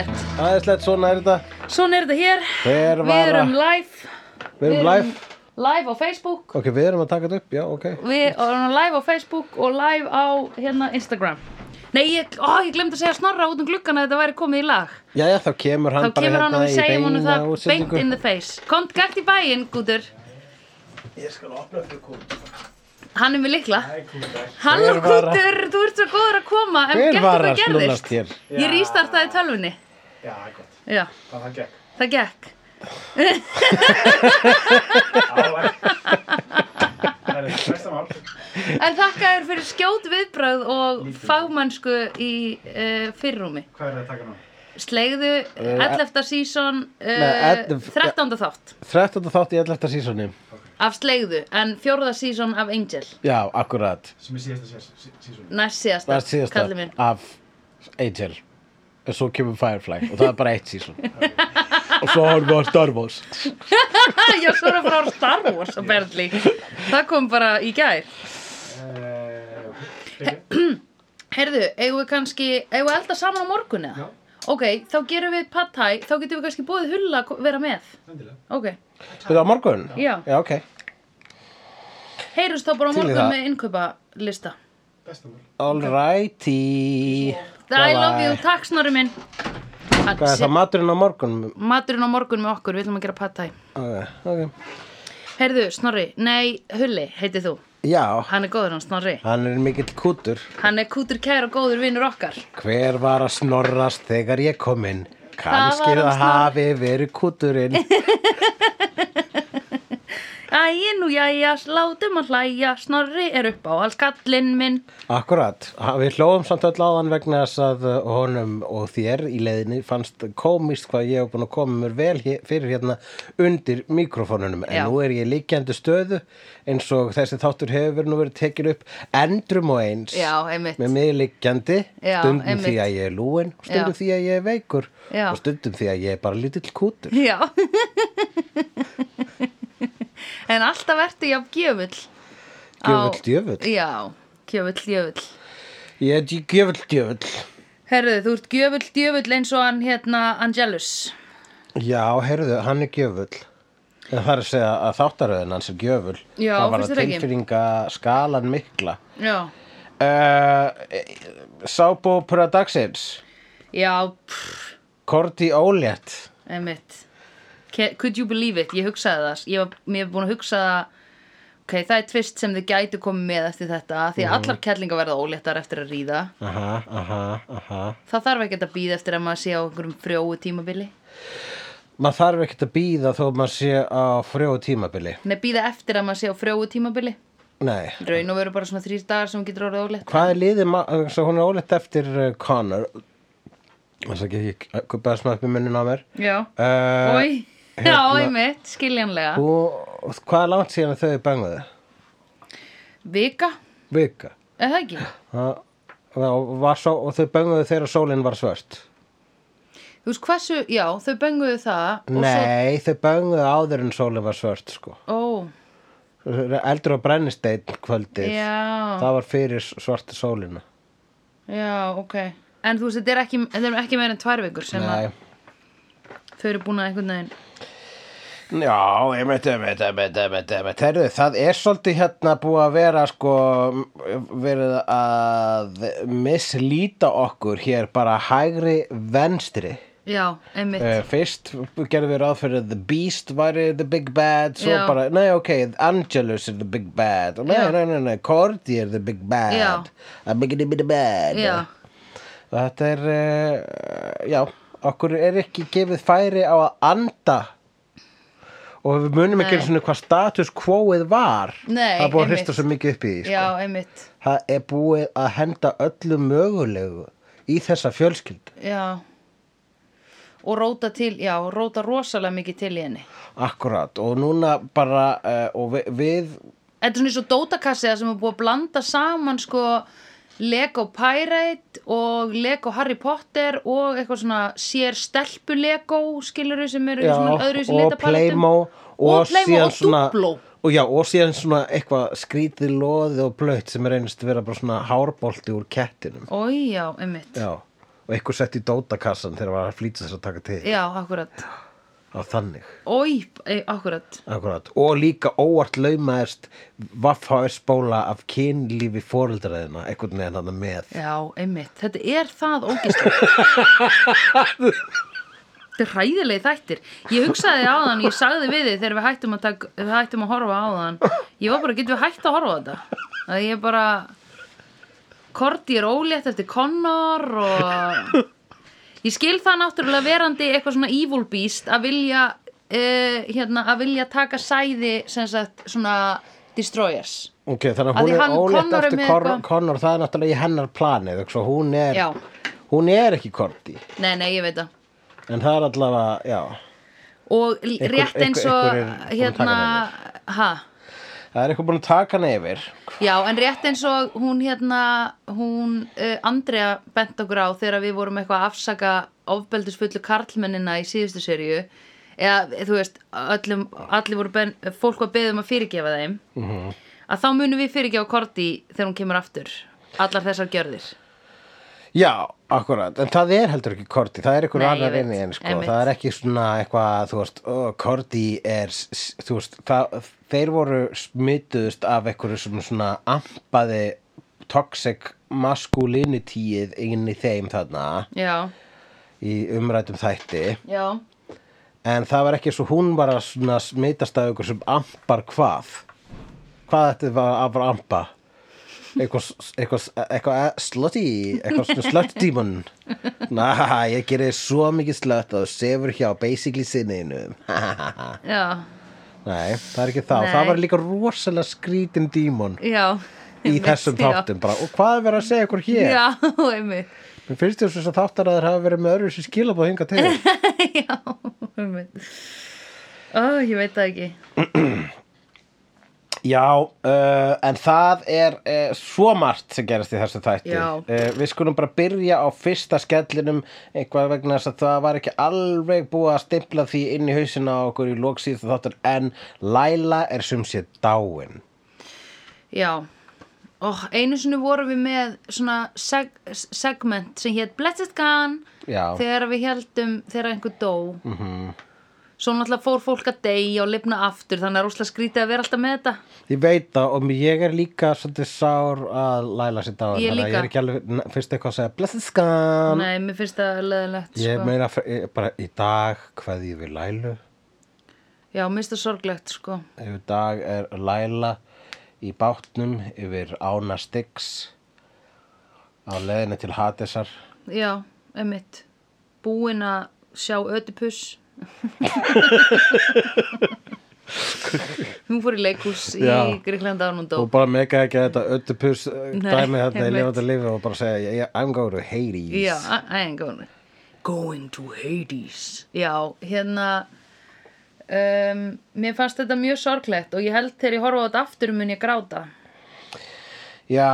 æðislegt, svona er þetta Svona er þetta hér. Hver var Við erum að- live. Við erum live Live á Facebook. Ok, við erum að taka þetta upp, já, ok Við erum live á Facebook og live á hérna Instagram. Nei, ég, ó, ég glemdi að segja snorra út um gluggan að þetta væri komið í lag. Jæja, þá kemur hann Þá bara kemur hann hérna og í við segjum honum beina það beint útsendingu. in the face. Komt gætt í bæinn, gútur. Ég skal opna fyrir kútur Hann er með likla. Halló, Hver var að- gútur, þú ert svo góður að koma. En Hver gætt var hvað að snúðast gerðist. hér? Ég rístartaði tölvunni. Já, gott. Já, Það það gekk. það gekk. Á, ekki. Það er besta mál. En þakka þér fyrir skjót viðbröð og fagmannsku í uh, fyrrúmi. Hvað er það að taka nú? Slegðu 11. season Eh, e- Nei, uh, ell- 13. þátt 13. þátt í 11. sísoni af Slegðu en 4. season af Angel. Já, akkurat Sem er síðasta sér- sísunni. Næst síðasta, Næst síðasta kallið minn. af Angel En svo kemur Firefly og það er bara eitt síson Og svo horfum við á Star Wars Já, Ah, svo er það frá Star Wars apparently. Það kom bara í gær. Eh, ok. Herðu, eigum við kannski, eigum við elda saman á morgun eða? Já. Ok, þá gerum við pad thai, þá getum við kannski búið hulla að ko- vera með. Endilega. Ok, Við á morgun? Já. Já, ok heyrjumst þá bara á Til í morgun það. með innkaupalista. Besta mál. Alrighty I Bye-bye. love you, takk snorri minn. Hvað er það maturinn á morgun? Maturinn á morgun með okkur, við ætlum að gera pad thai. Ok, ok Heyrðu, Snorri, nei, Hulli, heiti þú. Já, Hann er góður hann, Snorri. hann er mikill kútur Hann er kútur kær og góður vinnur okkar. Hver var að snorrast þegar ég kom inn? Kanski var um hann það, Snorri. hafi verið kúturinn. Æ, nú jæja, látum að hlæja, Snorri er upp á alls kallinn minn. Akkurat, Ha- við hlóðum samt öll áðan vegna þess að uh, honum og þér í leiðinni fannst komist hvað ég hef búin að koma mér vel hér, fyrir hérna undir mikrofónunum. En Já. nú er ég líkjandi stöðu eins og þessi þáttur hefur verið nú verið tekin upp endrum og eins. Já, einmitt. Með mig líkjandi, Já, stundum einmitt. því að ég er lúin, stundum Já. því að ég er veikur Já. og stundum því að ég er bara lítill kútur. Já. en alltaf ertu jafn gjöfull. á- Gjöfull djöfull. Já, gjöfull, gjöfull. Ég er gjöfull djöfull. Herðu, þú ert gjöfull, djöfull eins og hann hérna Angelus. Já, heyrðu, hann er gjöfull. En Það er að segja að þáttaröðin hans er gjöfull. Já, það var finnst að þér ekki? tilfinninga skalan mikla. Já. Uh, Sábó Productions, Já, pff, Korti Ólétt. einmitt. Ca- Could you believe it? Ég hugsaði það. Ég var, mér var búin að hugsa það. Ok, það er tvist sem þið gætu komið með eftir þetta. Því að allar kellingar verða óléttar eftir að ríða. Aha, aha, aha. Það þarf ekki að býða eftir að maður sé á einhverjum frjóu tímabili. Maður þarf ekkert að býða þó maður sé á frjóðu tímabili. Nei, býða eftir að maður sé á frjóu tímabili. Nei. Raun og veru bara svona þrýr dagar sem hún getur orðið ólétt. Hvað er liðið maður, svo hún er ólétt eftir uh, Connor. Það er ekki, ég kubbaði smá upp í munnin á mér. Já. Uh, Ói. Já, einmitt, skiljanlega. og hvað er langt síðan að þau bönguðu? Vika, Vika. er það ekki? Það það var svo, og þau bönguðu þegar sólinn var svört. Þú veist hversu, já, þau benguðu það og Nei, þau bönguðu áður en sólinn var svört, sko. Ó, Eldur á brennisteinn kvöldið. Já. Það var fyrir svarta sólina. já, ok. En þú veist, þetta er ekki, þetta er ekki meira en tvær vikur sem Nei. að þau eru búin að einhvern veginn. Já, ég veit, ég veit, ég veit, ég veit, ég veit, herðu, það er svolítið hérna búið að vera, sko, verið að mislíta okkur hér bara hægri venstri. Já, einmitt. Uh, fyrst gerðum við ráð fyrir að The Beast væri The Big Bad svo Já. bara, nei ok, Angelus er The Big Bad og nei, Já. nei, nei, nei, Cordy er The Big Bad Já. að byggja The Bad já, og þetta er uh, já, okkur er ekki gefið færi á að anda og við munum ekki Nei. svona hvað status quoið var Nei, það er búið að einmitt. hrista svo mikið upp í því já, sko. einmitt. það er búið að henda öllu mögulegu í þessa fjölskyldu Já. Og róta til, já, og róta rosalega mikið til í henni. Akkurat, og núna bara, uh, og við, við Þetta er svona eins og dótakassi það sem er búið að blanda saman sko Lego Pirate og Lego Harry Potter og eitthvað svona sér stelpu Lego skiluru sem eru í svona öðru í og Playmo og, og Playmo síðan og Duplo og já, og síðan svona eitthvað skrítið loðið og blöytt sem er einst að vera bara svona hárbolti úr kettinum Ójá, einmitt já, og eitthvað sett í dótakassan þegar það var að flýta þess að taka til já, akkurat á þannig Ói, akkurat Akkurat. og líka óvart laumaðist vaffháðsbóla af kynlífi fóreldraðina einhvern veginn hann með Já, einmitt, þetta er það ógislega Þetta er hræðilegi þættir Ég hugsaði á þann, ég sagði við þið þegar við hættum að, tak, við hættum að horfa á þann Ég var bara, getum við hætt að horfa á þetta Það ég bara Korti er ólétt eftir Connor og Ég skil það náttúrulega verandi eitthvað svona evil beast að vilja uh, hérna, að vilja taka sæði sem sagt svona destroyers ok, þannig að Af hún því er hann ólétt Connor er eftir með Connor, eitthvað- Connor það er náttúrulega í hennar planið ekki, svo hún, er, Já. hún er ekki korti Nei, nei, ég veit það en það er allavega, já og l- Einhver- rétt eins og einhver- einhver er búin að taka hérna ha, það er eitthvað búin að taka hann yfir já, en rétt eins og hún hérna hún uh, Andrea bent okkur á þegar við vorum eitthvað að afsaka ofbeldisfullu karlmennina í síðustu serju eða þú veist öllum, allir voru ben, fólk var beðum að fyrirgefa þeim Mhm. að þá munum við fyrirgefa Korti þegar hún kemur aftur allar þessar gjörðir Já, akkurat, en það er heldur ekki Korti, það er eitthvað Nei, ég annar veit, inni en sko, einmitt. það er ekki svona eitthvað, þú veist, ó, Korti er, s- s- þú veist, það, þeir voru smituðust af eitthvað sem svona ampaði toxic maskulinityið inn í þeim þarna já, í umrætum þætti já, en það var ekki svo hún var að svona smitast af ykkur sem ampar hvað hvað þetta var að var ampa eitthvað, eitthvað, eitthvað e- slutty eitthvað svona slött dímon na, ég gerir svo mikið slött að þú sefur hjá basically sinniðinu já nei, það er ekki það Nei. það var líka rosalega skrítin dímon já í einmitt, þessum já. þáttum bara, og hvað er verið að segja ykkur hér já, einmitt mér finnst þér þess að þáttaræður hafa verið með öðru sem skilabóð hinga til Já, einmitt. Ó, ég veit það ekki. Já, uh, en það er uh, svo margt sem gerast í þessu þætti. Já. Eh, við skulum bara byrja á fyrsta skellinum eitthvað vegna þess að það var ekki alveg búið að stimpla því inn í hausina á okkur í lóksíð þáttur en Laila er sum sé dáin. Já, og einu sinni vorum við með svona seg segment sem hétt Blessed Gun Já. Mhm. þegar við heldum þegar einhver dó. Mm -hmm. Svo náttúrulega fór fólk að deyja og lifna aftur þannig að rúslega skrítið að vera alltaf með þetta. Ég veit það og ég er líka svolítið sár að Laila sé dáin. Ég þannig að líka. Ég er ekki alveg n- fyrst eitthvað að segja blessed skan. Nei, mér finnst það leðilegt. Ég sko. meina eh, bara í dag hvað ég við Lailu. Já, mér finnst það sorglegt sko. Í dag er Laila í bátnum yfir Ána Styx á leiðinni til Hadesar. Já, einmitt. Búin að sjá ödipus. hún fór í leikús í Já. Gríklanda án hún dó. Og bara mega ekki að þetta öttupus Nei, dæmi þarna í einmitt. lifandi lífi og bara segja "Yeah, I'm going to Hades. Já, I I ain't going Going to Hades Já, hérna um, Mér fannst þetta mjög sorglegt og ég held þegar ég horfa á þetta aftur mun ég gráta Já,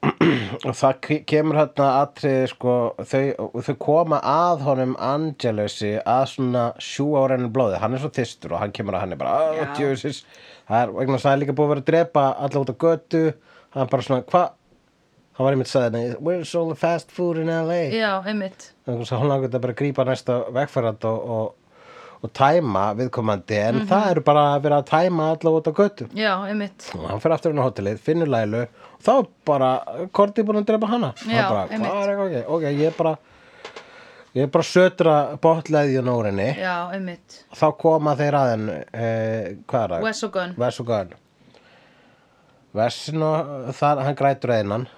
og það ke- kemur hérna atrið sko, þau, og þau koma að honum Angelusi að svona sjú ára henni blóði, hann er svo þystur og hann kemur að hann er bara, Já. að djöfusis það er vegna þess að það er líka búið að vera að drepa alla út á götu, hann er bara svona hvað, hann var einmitt sagði henni where's all the fast food in LA Já, einmitt þannig að hún langar þetta bara að grípa næsta vegfærand og, og, og tæma viðkomandi, en það eru bara að vera að tæma alla út á götu Já, einmitt og hann fyrir aftur inn á hótelið, finnur Lælu og þá er bara Korti búin að drepa hana Já, hann bara, einmitt. hvað er ekki, ok, ok, ég er bara ég er bara að sötra botleðjun úr henni Já, einmitt og þá koma þeir að henn eh, hvað er það? Wes og Gunn Wes og Gunn Vesin og þar, hann grætur að innan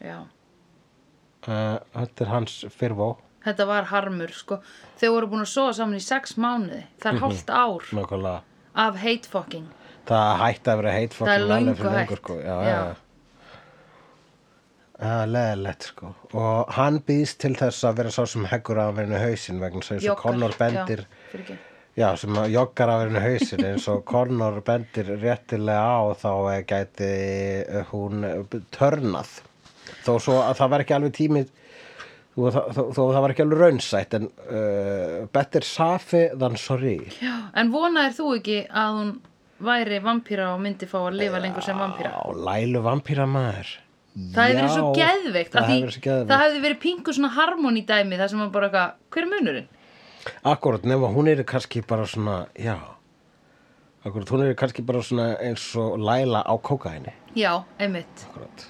Já uh, þetta er hans fyrvó Þetta var harmur, sko. Þau voru búin að sofa saman í sex mánuði. Það er hálft ár nákvæmlega af hate fucking. það hætti að vera heit Það er fucking Lalli löngu fyrir hætt. sko. já, Já. já, já. Já, leðilegt sko og hann býðst til þess að vera sá sem heggur að verinu hausinn vegna þess að Joggar, Connor bendir Já, fyrir ekki. Já, sem að joggar af henni hausinn eins og Connor bendir réttilega á þá eh, gæti eh, hún eh, b- törnað þó svo að það var ekki alveg tími þó að það, þó, þó að það var ekki alveg raunsætt en uh, better safi than sorry Já, en vonaðir þú ekki að hún væri vampíra og myndi fá að lifa lengur sem vampíra? Já, Lælu vampíra maður Það hefði verið svo Já, geðveikt það af því hefði verið svo geðveikt. Það hefði verið pingu svona harmoni dæmi Það sem var bara eitthvað, hver er munurinn? Akkurat, nema hún er kannski bara svona, já, akkurat, hún er kannski bara svona eins og læla á kókaini, Já, einmitt akkurat.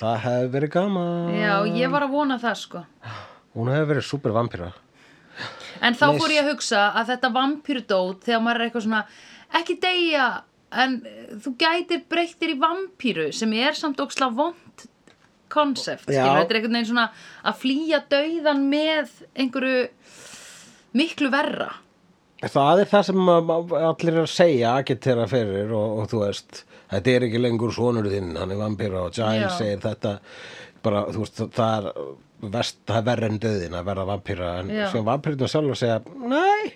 Það hefði verið gaman. Já, ég var að vona það sko Hún hefði verið super vampíra. En þá Nei, fór ég að hugsa að þetta vampýrdót Þegar maður er eitthvað svona Ekki deyja, en eh, þú gætir breyttir í vampýru Sem er samt óksla vond konsept Já. Skilur, þetta er einhvern veginn svona Að flýja dauðan með einhverju miklu verra Það er það sem að- að allir er að segja agitera fyrir og, og þú veist þetta er ekki lengur sonur þinn, hann er vampíra og Giles Já. segir þetta bara, þú veist, það er vest, það er verra en döðin að verða vampíra en Já. sem vampírinu sjálf að segja nei,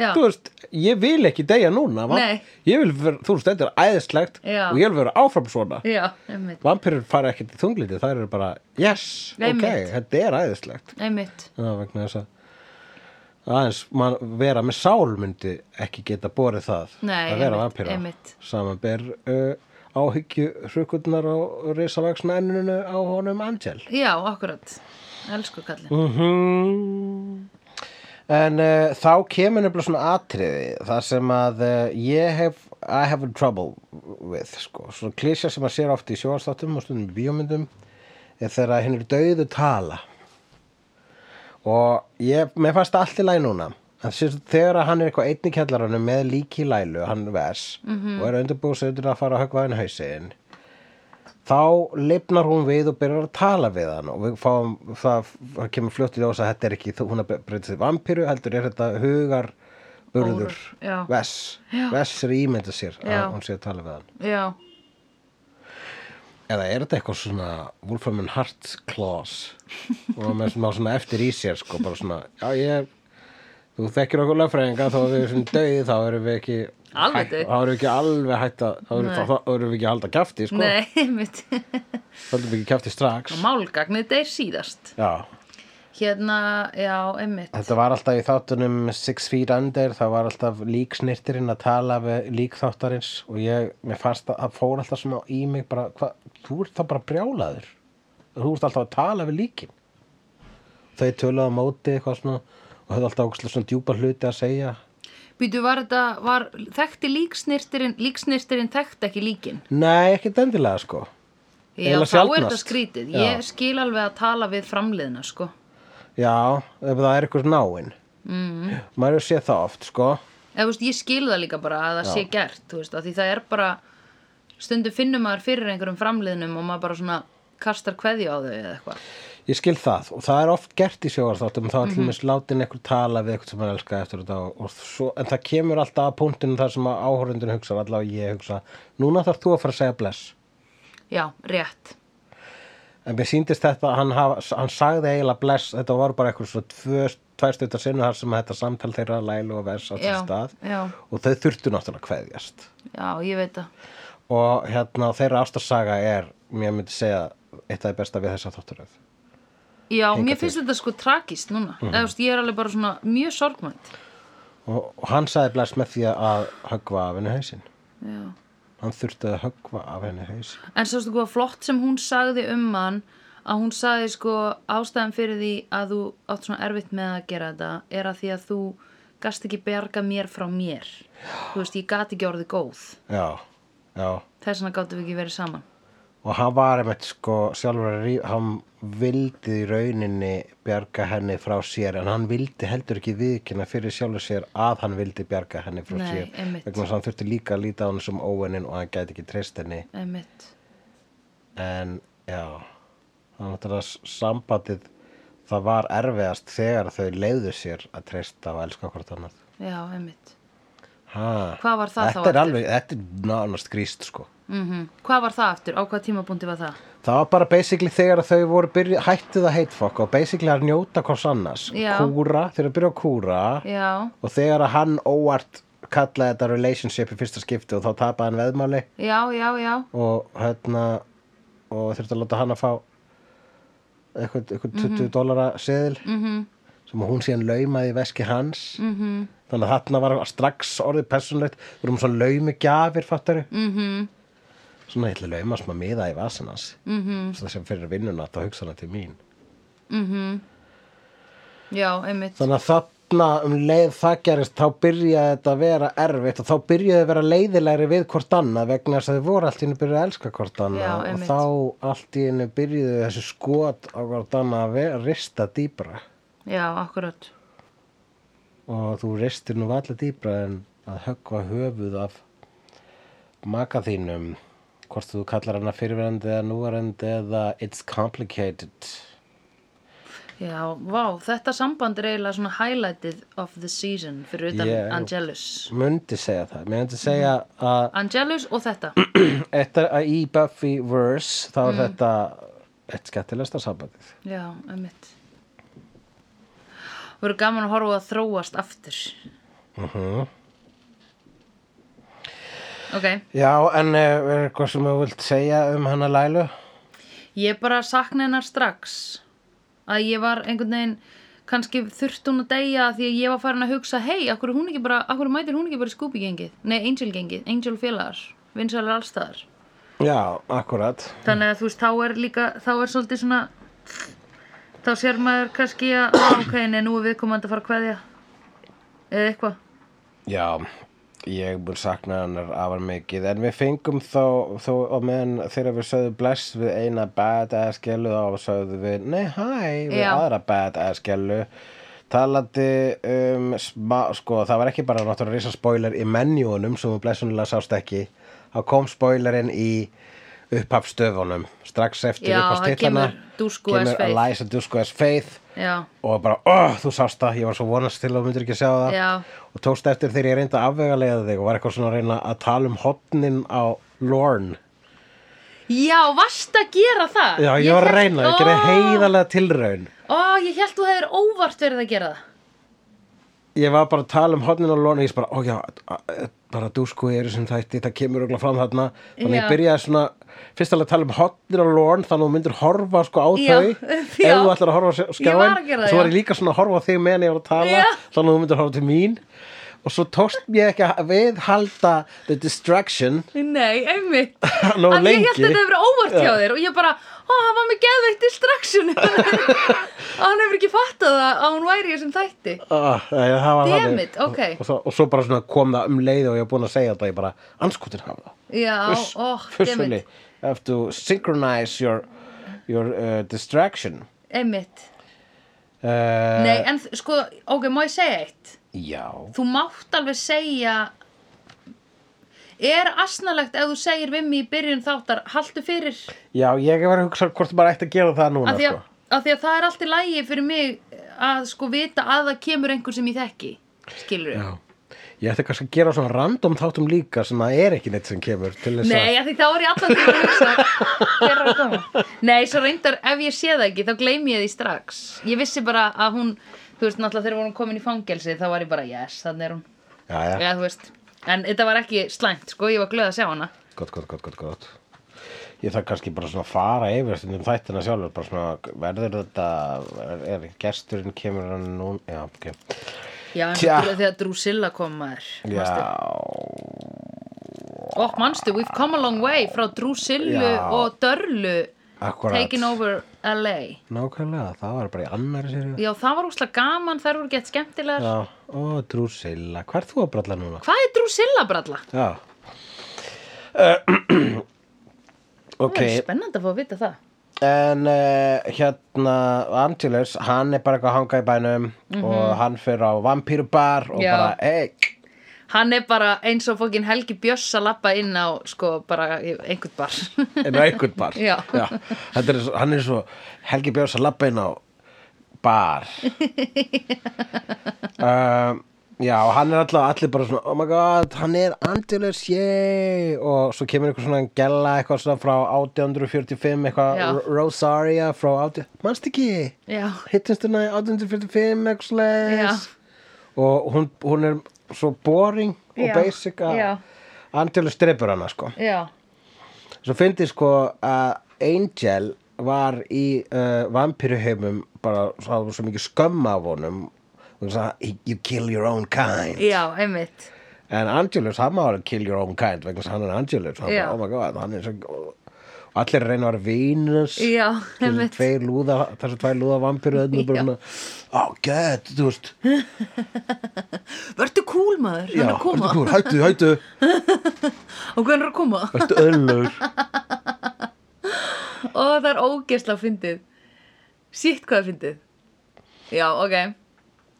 Já, þú veist, ég vil ekki deyja núna, vamp- Nei. ég vil vera, þú veist, þetta er æðislegt Já. og ég vil vera áfram svona já einmitt, vampírur fara ekkert í þungliti, það eru bara yes, Einmitt. ok, þetta er æðislegt einmitt Já, vegna þess að aðeins man, vera með sál myndi ekki geta borið það Nei, að vera einmitt, vampíra einmitt. samanber uh, áhyggju hrukurnar á risavaksna enninu á honum Angel Já, akkurat Elsku kallinn mm en uh, þá kemur nefnilega svona atriði þar sem að uh, ég hef I have trouble with sko. svona klísja sem að sér oft í sjóðarstáttum og stundum í bíómyndum er þegar að hinn er dauðu tala og ég, mér fannst allt í læg núna En sem sagt, þegar að hann er eitthvað einn í kjallaranum með líki í lælu, hann vers Mhm. og er undirbúið sig undir að fara að höggva hann hausinn þá lifnar hún við og byrjar að tala við hann og við fáum, það, það kemur fljótt í ljós að þetta er ekki, þó- hún er breytið vampíru heldur er þetta hugar burður, Órur, já. vess Já. vess er ímynda sér Já. að hún sé að tala við hann Já, eða er þetta eitthvað svona Wolfram and Heart clause og með svona, svona eftir í sér sko, bara svona, já ég þú þekkir okkur lögfræðinga þá erum við sem döið þá erum við ekki Alveg hætt- dauð. þá erum við ekki alveg hægt að þá erum, Nei. þá, þá erum við ekki að halda kjafti sko, nei, einmitt þá erum við ekki kjafti strax Málgagnið deyr síðast já, Hérna, já, einmitt Þetta var alltaf í þáttunum Six Feet Under, það var alltaf líksnirtirinn að tala við líkþáttarins og ég, mér fannst að það fór alltaf svona í mig bara, hva, þú ert þá bara brjálaður þú ert alltaf að tala við líkin þau töluðu á móti eitthvað svona og höfðu alltaf ógeðslega svona djúpa hluti að segja Býtu, var þetta, var, þekkti líksnirtirinn Líksnirtirinn þekkti ekki líkin Nei, ekkert endilega sko Já, Eiginlega þá er þetta sjaldnast. skrítið Já. Ég skil alveg að tala við framliðna, sko Já, ef það er eitthvað náinn mm. maður hefur séð það oft sko Eða, þú veist, ég skil það líka bara að það sé gert Þú veist, að því það er bara Stundum finnum maður fyrir einhverjum framliðnum og maður bara svona kastar kveðju á þau eða eitthvað Ég skil það og það er oft gert í sjóvarþáttum þá allir mér látin einhver tala við eitthvað sem hann elskaði eftir þetta og, og svo, en það kemur alltaf að punktinu þar sem að áhorundin hugsa allavega ég hugsa, núna þarf þú að fara að segja bless Já, rétt en mér síndist þetta að hann, hafa, hann sagði eiginlega bless, þetta var bara eitthvað svo tvö, tværstutta sinu þar sem þetta samtal þeirra lælu og vers á til Já, stað já. og þau þurftu náttúrulega að kveðjast Já, ég veit það og hérna þeirra ástarsaga er, mér myndi segja eitt af því besta við þessa þátturöð Já, mér finnst þetta sko tragist núna Mhm. mm veist, Ég er alveg bara svona mjög sorgmænt og, og hann sagði bless með því að höggva af henni hausinn Já. Hann þurfti að höggva af henni haus. En sástu hvað flott sem hún sagði um hann að hún sagði sko ástæðan fyrir því að þú átt svona erfitt með að gera þetta er að því að þú gast ekki berga mér frá mér þú veist, ég gat ekki orðið góð Já, já. þess vegna gáttum við ekki verið saman Og hann var einmitt sko sjálfur að ríf, hann vildi í rauninni bjarga henni frá sér en hann vildi heldur ekki viðkynna fyrir sjálfur sér að hann vildi bjarga henni frá Nei, sér. einmitt. Vegna þess að hann þurfti líka að líta á henni sem óvennin og hann gæti ekki treyst henni. Einmitt. En já, það var náttúrulega sambandið, það var erfiðast þegar þau leiðu sér að treysta og elska hvort annað. Já, einmitt Ha, Hvað var það þá þetta er eftir? alveg, þetta er nánast gríst sko. mm Hvað var það aftur? Á hvað tímabúndi var það? Það var bara basically þegar að þau voru byrju, hættið að heitfokk og basically að njóta hvers annars. Já. Kúra, þeir eru að byrja að kúra Já, og þegar að hann óvart kallaði þetta relationship í fyrsta skipti og þá tapaði hann veðmáli já, já, já og hérna og þurfti að láta hann að fá eitthvað, eitthvað 20 mm dólara seðil Mhm. sem hún síðan laumaði í veski hans. Mm -hmm. Þannig að þarna var strax orðið persónlegt, við erum svo laumi gjafir fattari. Mhm. svona ég ætla að lauma smá miða í vasanans mm -hmm. svo sem fyrir vinnuna þá hugsa hana til mín Mhm. já, einmitt þannig að þarna um leið það gerist þá byrjaði þetta að vera erfitt og þá byrjaði að vera leiðilegri við hvort annað vegna þess að þau voru allt í einu byrjuð að elska hvort Já, annað og einmitt. þá allt í einu byrjuðu þessi skot á hvort annað að vera, rista dýbra já, akkurat og þú ristir nú allir dýbra en að höggva höfuð af maka þínum hvort þú kallar hana fyrirverandi eða núverandi eða it's complicated já, vá, þetta samband er eiginlega svona highlightið of the season fyrir utan Yeah. Angelus myndi segja það, myndi segja að Angelus og þetta Þetta að í Buffy verse þá er þetta eitt skettilegsta sambandið. já, einmitt verður gaman að horfa á að þróast aftur ok Já, en eh, er eitthvað sem þú vilt segja um hana Lælu? Ég bara sakna hennar strax að ég var einhvern veginn kannski þurft hún að deyja af því að ég var farin að hugsa hei, akkur, hún ekki bara, akkur mætir hún ekki bara í Scooby-gengið, nei Angel-gengið, Angel-félagar vinsælar allstæðar Já, akkurat. þannig að þú veist, þá er líka þá er svolítið svona þá sér maður kannski að "Ah, ok, nei, nú er viðkomandi að fara að kveðja eða eitthvað Já, ég mun sakna hennar afar mikið en við fengum þó, þó og meðan þegar við sögðu bless við eina badass gælu þá sögðu við nei hæ við Já. aðra badass gælu talandi um smá, sko það var ekki bara náttúrulega risa spoiler í menjúunum sem við blessunulega sást ekki þá kom spoilerinn í upphafstöfunum strax eftir Já, það upphafstillana kemur Dusko as Faith. Eliza Dusko as Faith já, og bara, oh, þú sást það, ég var svo vonast til að þú myndir ekki sjá það já, og tókst eftir þegar ég reyndi að afvegalega þig og var eitthvað svona að reyna að tala um hotnin á Lorne já, varst að gera það Já, ég, var að hélt- reyna, ég gerði Ó, heiðalega tilraun ó, ég held þú hefur óvart verið að gera það Ég var bara að tala um hotnin á Lorne og ég bara, ó já, a- a- bara þú sko ég er sem þætti, það kemur örugglega fram þarna þannig Já. ég byrjaði svona, fyrst alveg að tala um hotnin á Lorne þannig að þú myndir horfa sko á Já, þau já. ef þú ætlar að horfa á Ég var skjáin að gera það, svo var já. ég líka svona að horfa á þig meðan ég var að tala Já. þannig að þú myndir horfa til mín og svo tókst ég ekki að viðhalda the distraction Nei, einmitt Nó Að ég lengi. held þetta hefur verið óvart hjá þér og ég bara, ó, hann var með geðveitt distraction að hann hefur ekki fattað það að hún væri í þessum þætti Ah, nei, það var Damn þannig. it, ok. og, og, svo, og svo bara svona kom það um leið og ég var búin að segja þetta ég bara, anskotin hafa það Já, Fuss- ó, fussfulli. einmitt You have to synchronize your, your uh, distraction Einmitt, uh, nei, en þ- sko, ok, má ég segja eitt já, Þú mátt alveg segja Er asnalegt ef þú segir við mig í byrjun þáttar Haltu fyrir já, ég var að hugsa hvort maður ætti að gera það núna Af því, að, sko. af því að það er allt í lægi fyrir mig að sko vita að það kemur einhver sem ég þekki Skilur já Ég ætti kannski að gera svona random þáttum líka sem það er ekki neitt sem kemur til þess að Nei, af því þá er ég allan tíma að hugsa hver er að koma. Nei, svo reyndar ef ég sé það ekki, þá gleymi ég því strax Ég vissi bara að hún Þú veist, náttúrulega þegar hún komin í fangelsi Þá var ég bara, yes, þannig er hún Já, já, ja, þú veist. En þetta var ekki slæmt, sko, ég var glöð að sjá hana gott, gott, gott, gott, gott Ég þarf kannski bara svona að fara yfir stundum þættina sjálfur, bara svona verður þetta, er, er gesturinn kemur hann nú, já, ok Já, en Tja. Dru- þegar Drusilla kom maður manstu? Já, Ó, manstu, we've come a long way frá Drusillu Já. og Dörlu akkurat Taking over LA Nákvæmlega, það var bara í annari sér Já, það var úslega gaman, þær voru gett skemmtilegar Já, ó, Drusilla, hvað er þú að bralla núna? Hvað er Drusilla bralla? Já uh, Ok, Það er spennandi að fá að vita það en uh, hérna Angelus, hann er bara eitthvað að hanga í bænum og hann fyrir á vampírubar og Já. bara, hey, Hann er bara eins og fókin Helgi Björns að lappa inn á sko bara einhvern bar. en einhvern bar Já. Þetta er, svo- Hann er svo Helgi Björns að labba inn á bar um, Já, og hann er alltaf allir bara svona, oh my god, hann er Angelus, yay og svo kemur eitthvað svona gella eitthvað svona frá 1845 eitthvað Já. Ro- Rosaria frá 18... Manst ekki? Já, Hittist hérna í 1845 eitthvað Já. slags og hún, hún er svo boring og Já, basic já. að Angelus dreipur hana sko já, Svo fyndi sko að Angel var í uh, vampiruheimum bara sá svo mikið skömm af honum og þess að he- you kill your own kind já, einmitt. en Angelus, hann má alveg kill your own kind vegna þess að hann er Angelus hann, Já. bara, oh my god, hann er svo allir reyna að vera Venus Já, þessi einmitt. tveir lúða, þessi tveir lúða vampiru þarna bara svona, oh god, þú veist Vertu cool maður, já, hann er að koma ertu kúl, hættu, hættu, og hann er að koma ertu öðlur og það er ógesla fyndið Sitt hvað er fyndið Já, ok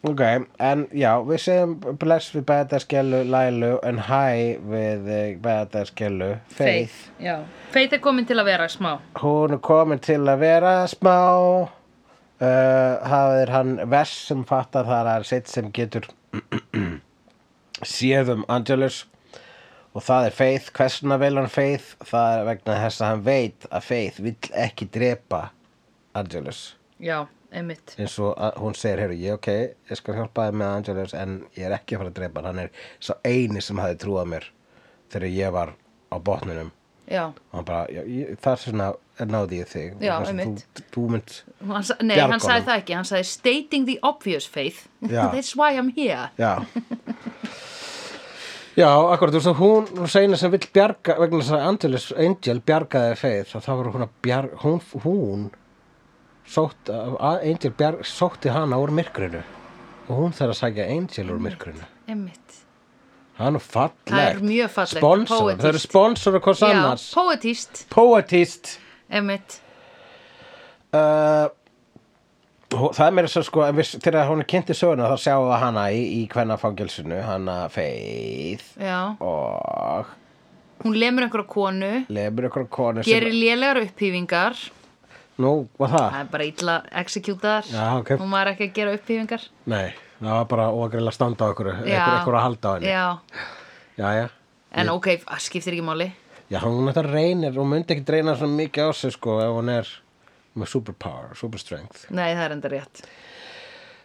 ok, en já, við segjum bless við bæðaskelu Lælu en hæ við bæðaskelu Faith Já. Faith er komin til að vera smá hún er komin til að vera smá uh, það er hann Vess sem fattar það er sitt sem getur séð um Angelus og það er Faith, hversuna vel hann Faith það er vegna þess að hann veit að Faith vill ekki drepa Angelus Já, einmitt eins og að, hún segir, heyrðu, ég ok ég skal hjálpa þið með Angelus en ég er ekki að fara að drepa hann hann er sá eini sem hafi trúað mér þegar ég var á botninum Já, og hann bara, já, ég, það er svona er náði ég þig Já, Það sem einmitt. þú, þú mynd, hann, sa- nei, Bjarga hann sagði honum. það ekki Hann sagði stating the obvious faith Já. That's why I'm here já já, akkurat, þú veist að hún hún segna sem vill bjarga vegna þess að Angelus Angel bjargaði feið þá var hún að bjarga, hún, hún sótt, að Angel bjarg, sótti hana úr myrkrinu og hún þarf að sækja Angel úr myrkrinu Einmitt það er nú fallegt Það er mjög fallegt, sponsor, það eru poetískt. sponsor og hvers Já, annars poetist, poetist einmitt uh, hó- það er meira svo sko en við, þegar hún er kynnt í söguna þá sjáum við hana í, í kvennafangelsinu hana Faith Já, og hún lemur einhverja konu lemur ykkur konu sem, Gerir lélegar upphýfingar nú, var það? Það er bara illa executaðar Já, ok. Hún var ekki að gera upphýfingar nei, það var bara ógrill að standa á ykkur Já. ykkur að halda á henni Já, já, já, en ok, það skiptir ekki máli já, hún þetta reynir hún myndi ekki reyna svo mikið á sig sko ef hún er með superpower, superstrength Nei, það er enda rétt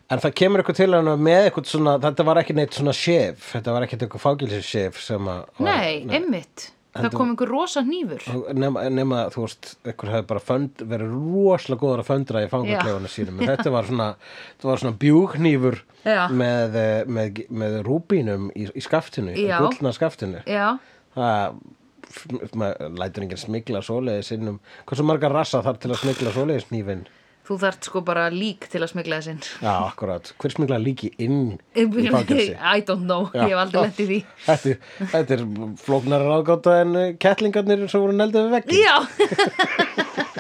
en það kemur ykkur til hennar með eitthvað svona þetta var ekki neitt svona shif þetta var ekki eitthvað fangelsishif sem að var- Nei, einmitt Það kom einhver rosa hnífur nema, nema þú veist, einhver hefði bara fönd, verið rosalega góður að föndra í fangakleifunum sínum en þetta var svona, þetta var svona bjúknýfur Já. með, eh, með, með rúbínum í, í skaftinu, í Já. gullna skaftinu Já, það f- maður lætur enginn smigla svoleiðis innum hversu margar rassa þarf til að smigla svoleiðis nýfin þú þart sko bara lík til að smigla þessinn já, akkurat, hver smigla líki inn í fangelsi I don't know, Já. ég hef aldrei lett í því þetta, er- þetta er flóknar ráðgáta en eh, kettlingarnir sem voru neldið við vekki Já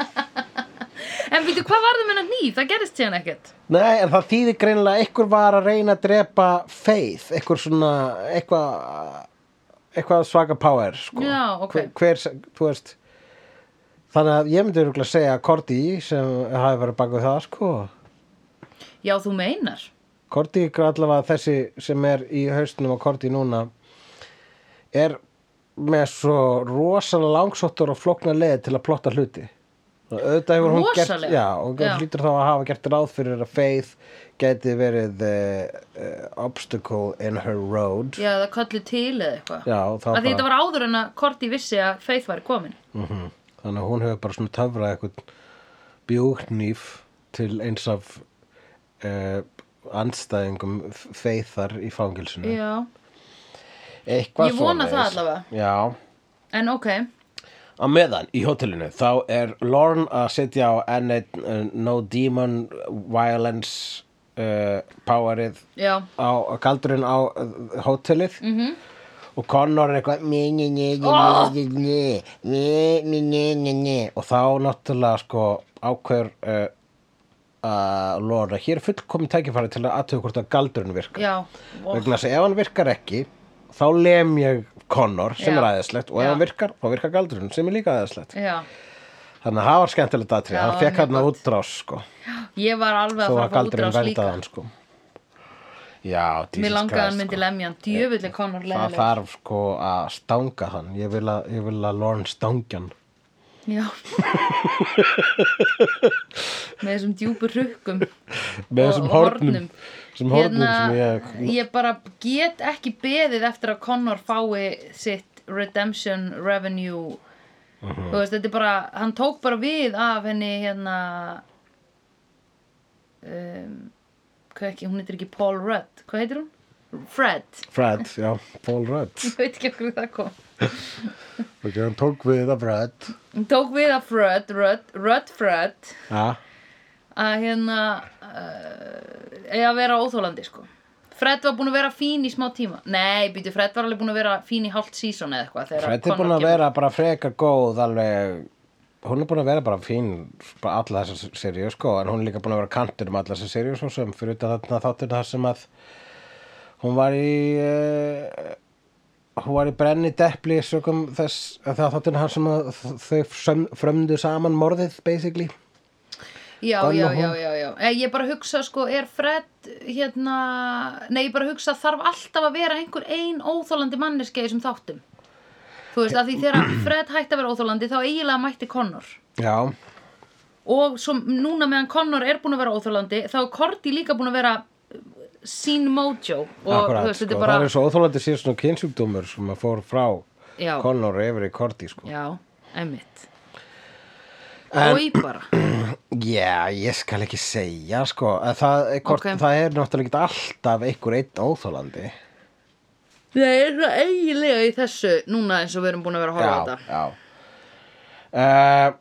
En veitu, hvað var það með hennar hníf? Það gerist síðan ekkert Nei, en það þýðir greinilega að einhver var að reyna að drepa faith, einhver svona, eitthvað, eitthvað svaka power, sko. Já, ok. Hver, hver, sem- þú veist, þannig að ég myndi örugglega að segja að Korti sem hafi verið bakað það, sko. Já, þú meinar Korti, allavega þessi sem er í haustunum á Korti núna, er með svo rosalega langsóttur og flókna leið til að plotta hluti. Og Auðvitað hefur hún Rosalega? gert, já, og Já. hún hlýtur þá að hafa gert ráð fyrir að Faith geti verið uh, uh, obstacle in her road. Já, það kallu til eða eitthvað Já, og þá Af Því bara, þetta var áður en að Korti vissi að Faith væri komin Mhm. þannig að hún hefur bara svona töfrað eitthvað bjúknýf til eins af uh, andstæðingum Faithar í fangilsinu. Já, Eitthvað Ég vona það svoleiðis. allavega. Já. en ok Á meðan í hótelinu þá er Lorne að sitja á enn einn uh, No Demon Violence uh, powerið Já, Mhm, á á galdurinn á uh, hótelið -hmm. og Connor er eitthvað njö, njö, njö, njö, Oh! njö, njö, njö, njö, njö, njö, njö. og þá náttúrulega sko ákveður uh, að Lorne að hér er fullkomin tækifæri til að aðtöku hvort að galdurinn virkar já og, vegna þess að ef hann virkar ekki þá lem ég Connor sem Já. er aðeinslegt og ef Já. hann virkar, þá virkar galdurinn sem er líka aðeinslegt Já, þannig að það var skemmtilegt aðtrið, Já, hann fekk mjög hann gott. útrás sko, ég var þó alveg að að fara að fá galdurinn útrás líka verndað hann sko já, Mér Jesus langaði að hann Christ, myndi sko. lemja hann Djöfulli Connor það leðileg þarf sko að stanga hann ég vil að, ég vil að Lorne stangja hann Já Með þessum djúpu rukkum með Og- þessum og hornum, hornum. þessum hornum Hérna, sem ég ég bara get ekki beðið eftir að Connor fái sitt redemption revenue Mhm. Þú veist, þetta er bara Hann tók bara við af henni hérna um, Hvað ekki, hún heitir ekki Paul Rudd Hvað heitir hún? Fred Fred, já, Paul Rudd Ég veit ekki okkur það kom ok, hann tók við af Fred Hún tók við að Fred, Rudd, Rudd Fred ja, að hérna uh, eiga að vera óþólandi sko Fred var búin að vera fín í smá tíma Nei, býtu, Fred var alveg búin að vera fín í hálft sísón eða eitthvað þegar Fred er Connor búin að kemur. vera bara frekar góð alveg hún er búin að vera bara fín bara alla þessar seríu sko en hún er líka búin að vera kantur um alla þessar seríu svo sem fyrir utan þarna þáttur þar sem að hún var í uh, hún var í brenni deppli sögum þess að það þáttur þar sem að þau söm- frömdu saman morðið basically Já, Gunn já, og já, hún. já, já Eh, Ég bara hugsa sko, er Fred hérna Nei, ég bara hugsa þarf alltaf að vera einhver ein óþólandi manneski þessum þáttum Þú veist, að því þegar Fred hætti að vera óþólandi þá eiginlega mætti Connor já, og svo núna meðan Connor er búin að vera óþólandi þá er Cordy líka búin að vera sín mojo og akkurat þú veist, sko, þetta er bara það er svo óþólandi síðan svona kynsjúkdómur sem að fór frá Já. Connor yfir í Korti sko Já, einmitt En- Oi bara Já, ég skal ekki segja sko, að það, hvort, Ok. það er náttúrulega ekki alltaf einhver einn óþólandi Það er svo eiginlega í þessu núna eins og við erum búin að vera að horfa á Já, þetta já uh,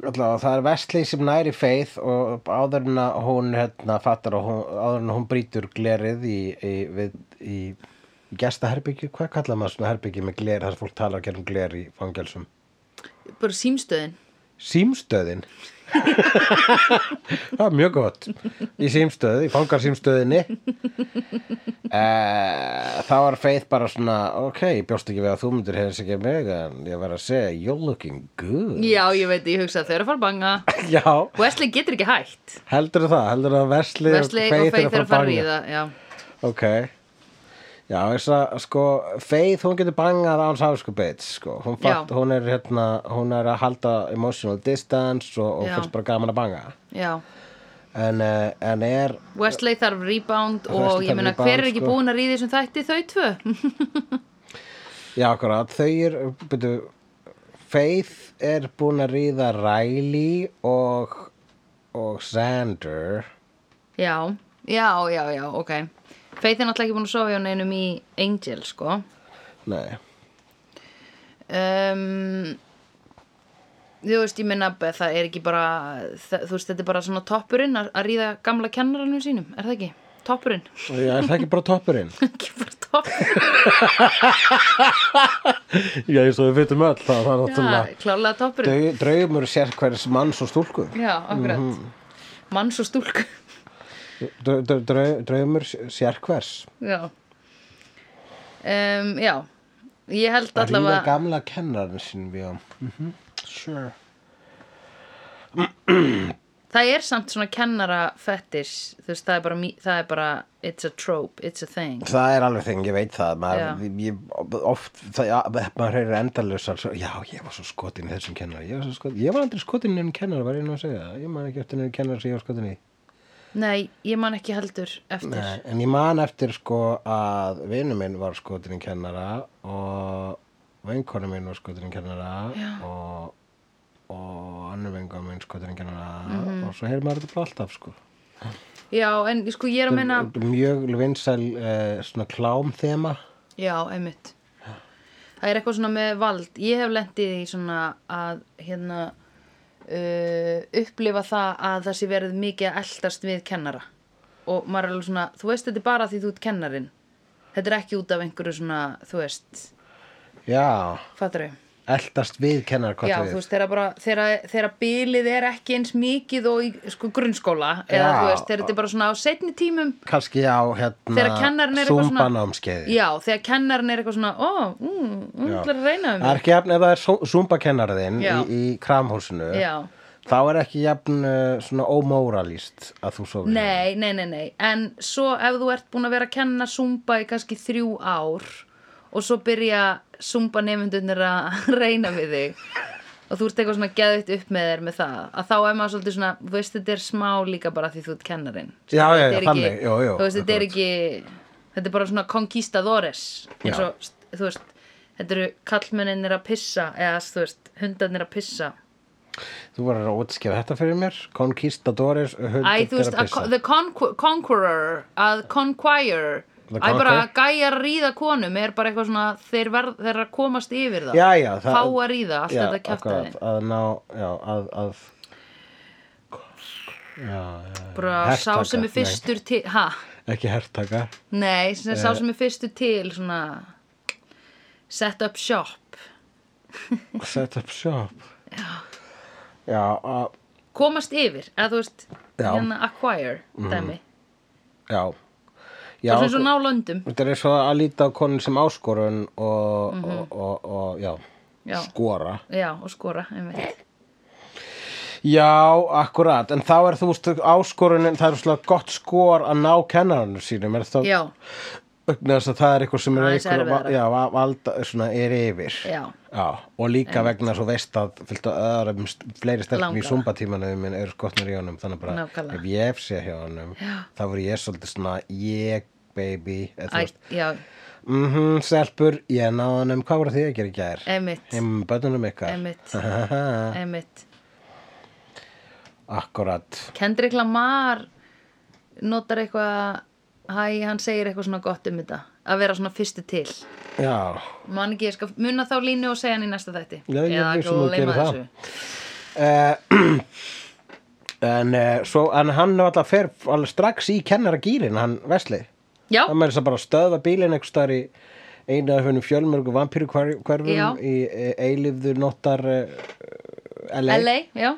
allavega, Það er Vestley sem næri feið og áður en að hún hérna, fattar og hún, áður en að hún brýtur glerið í, í, við, í gestaherbyggju, hvað kallar maður svona herbyggju með gler, þar sem fólk talar ekki um gler í fangelsum? Bara símstöðin símstöðin það er mjög gott í símstöði, í fangarsímstöðinni uh, þá var Faith bara svona ok, ég bjóst ekki við að þú myndir hefðis ekki mig en ég verð að segja, you're looking good Já, ég veit, ég hugsa að þau eru að fara að banga já, Wesley getur ekki hægt heldur það heldur það að Vesli Wesley og Faith eru að fara að ríða Já, ok já, þess að sko Faith, hún getur bangað án sáskupið sko. hún, fatt, Já. hún er hérna hún er að halda emotional distance og, og Já. finnst bara gaman að banga já en, uh, en er Wesley þarf rebound Wesley og þarf ég meina rebound, hver er ekki sko. búin að ríða í þessum þætti þau tvö Já, akkurat, þau er byrju, Faith er búin að ríða Riley og og Xander Já, já, já, já, ok Faith er náttúrulega ekki búin að sofa hjá neinum í Angel, sko Nei, um, þú veist, ég minna það er ekki bara, það, þú veist, þetta er bara svona toppurinn að, að ríða gamla kennaranum sínum, er það ekki? Toppurinn, Já, er það ekki bara toppurinn? ekki bara toppurinn Já, eins og við vitum öll það, það er náttúrulega klálega toppurinn Dau- Draumur sér hvers manns og stúlku já, akkurat Mhm. manns og stúlku Dau- dau- drau- Draumur sér hvers já um, já, ég held Að ríða allavega gamla kennarinn sinn við á Mhm. Sure það er samt svona kennara fetish, þú veist, það er bara, mý- það er bara it's a trope, it's a thing Það er alveg þing, ég veit það maður, Já. ég, oft, það, ja, maður heyrir endalausar svo, já, ég var svo skotin í þessum kennara ég var, svo skotin, ég var aldrei skotin í enn kennara var ég nú að segja það, ég man ekki eftir enn kennara sem ég var skotin í nei, ég man ekki heldur eftir Nei, en ég man eftir sko að vinur minn var skotin í kennara og vinkonu minn var skotin í kennara já. og og annar vengar minn skotin í kennara og svo heyrir maður þetta bara alltaf sko já, en sko, ég er að minna Þetta er mjög vinsæl eh, svona klámþema Já, einmitt. Það er eitthvað svona með vald. Ég hef lendið í því svona að hérna uh, upplifa það að það sé verið mikið að eldast við kennara. Og maður er alveg svona, þú veist þetta er bara því þú ert kennarin. Þetta er ekki út af einhverju svona, þú veist, já, fattar þau? eldast við kennara hvað Já, það þú við veist, þegar bara, þegar, þegar bilið er ekki eins mikið og í sko, grunnskóla, eða Já. þú veist, þegar þetta er bara svona á setni tímum, kannski á Þegar kennarinn hérna er eitthvað svona- zumbanámskeiði já, þegar kennarin er eitthvað svona, ó, mm, mm, Já. ætlar að reyna um það er ekki jafn ef það er zumbakennarðinn í, Já. í kramhúsinu Já. þá er ekki jafn uh, svona ómóralist að þú svo Nei, nei, nei, nei, en svo ef þú ert búin að vera að kenna Zumba í kannski þrjú ár og svo byrja Zumba nefndunir að reyna við þig og þú ert eitthvað svona geðvitt upp með þér með það að þá er maður svolítið svona, þú veist þetta er smá líka bara því þú ert kennarinn Já, já, Þetta já, er þannig, ekki- jú, jú, Þú veist, þetta er ekki, þetta er bara svona conquistadores Já. eins og, þú veist, þetta eru kallmenninir að pissa eða þú veist, hundarnir að pissa Þú var að útskjara þetta fyrir mér Conquistadores Æ, þú veist, að, hundderapissa. the conqu- conqueror, að conquire The Æ, bara conquer. að gæja að ríða konum er bara eitthvað svona, þeir, verð, þeir eru að komast yfir það, Já, já, það- fá að ríða allt Já, þetta kjaftaði, akkurat, Að ná, já, að, að Já, já, bara Hertaka, sá sem er nei. fyrstur til, ha, ekki hertaka nei sem Eh. sá sem er fyrstur til, svona set up shop Set up shop Já Já, að, komast yfir, eða þú veist Já. hérna acquire, dæmi já Já, þá sem svo sko, ná löndum þetta er svo að líta á konun sem áskorun og, og, og, og já, Mhm. Já. skora já, og skora, Eh? einmitt Já, akkurat, en þá er þú veist áskorunin, það er svona gott skor að ná kennarannu sínum, er það já, vegna þess að það er eitthvað sem er Aðeins einhver- erfiðara. já, va- valda, svona, er yfir Já. og líka vegna svo veist að fyllt á öðrum, st- fleiri stelpum í Langar. zumbatímanum minn eru skotnir í honum þannig bara, Nákvæmlega. ef ég hef séð hjá honum já. þá voru ég svolítið svona ég, baby, eða þú Æ, veist já, mhm, stelpur, ég náði honum hvað voru þið að gera í gær? einmitt heim bönnunum ykkar einmitt, Eh. einmitt akkurat Kendrick Lamar notar eitthvað hæ, hann segir eitthvað svona gott um þetta að vera svona fyrstu til já, man ekki, ég skal muna þá línu og segja hann í næsta þætti Já, ég er viss um að þú gleyma gerir það. Eh, en, uh, svo, en hann er alltaf fer alveg strax í kennaragýrin hann Vesli já, hann með þess að bara stöða bílinn einhvers staðar í einu af hennum fjölmörgu vampíru Já. hverfum í eh, eilífðu nóttar uh, LA, LA, já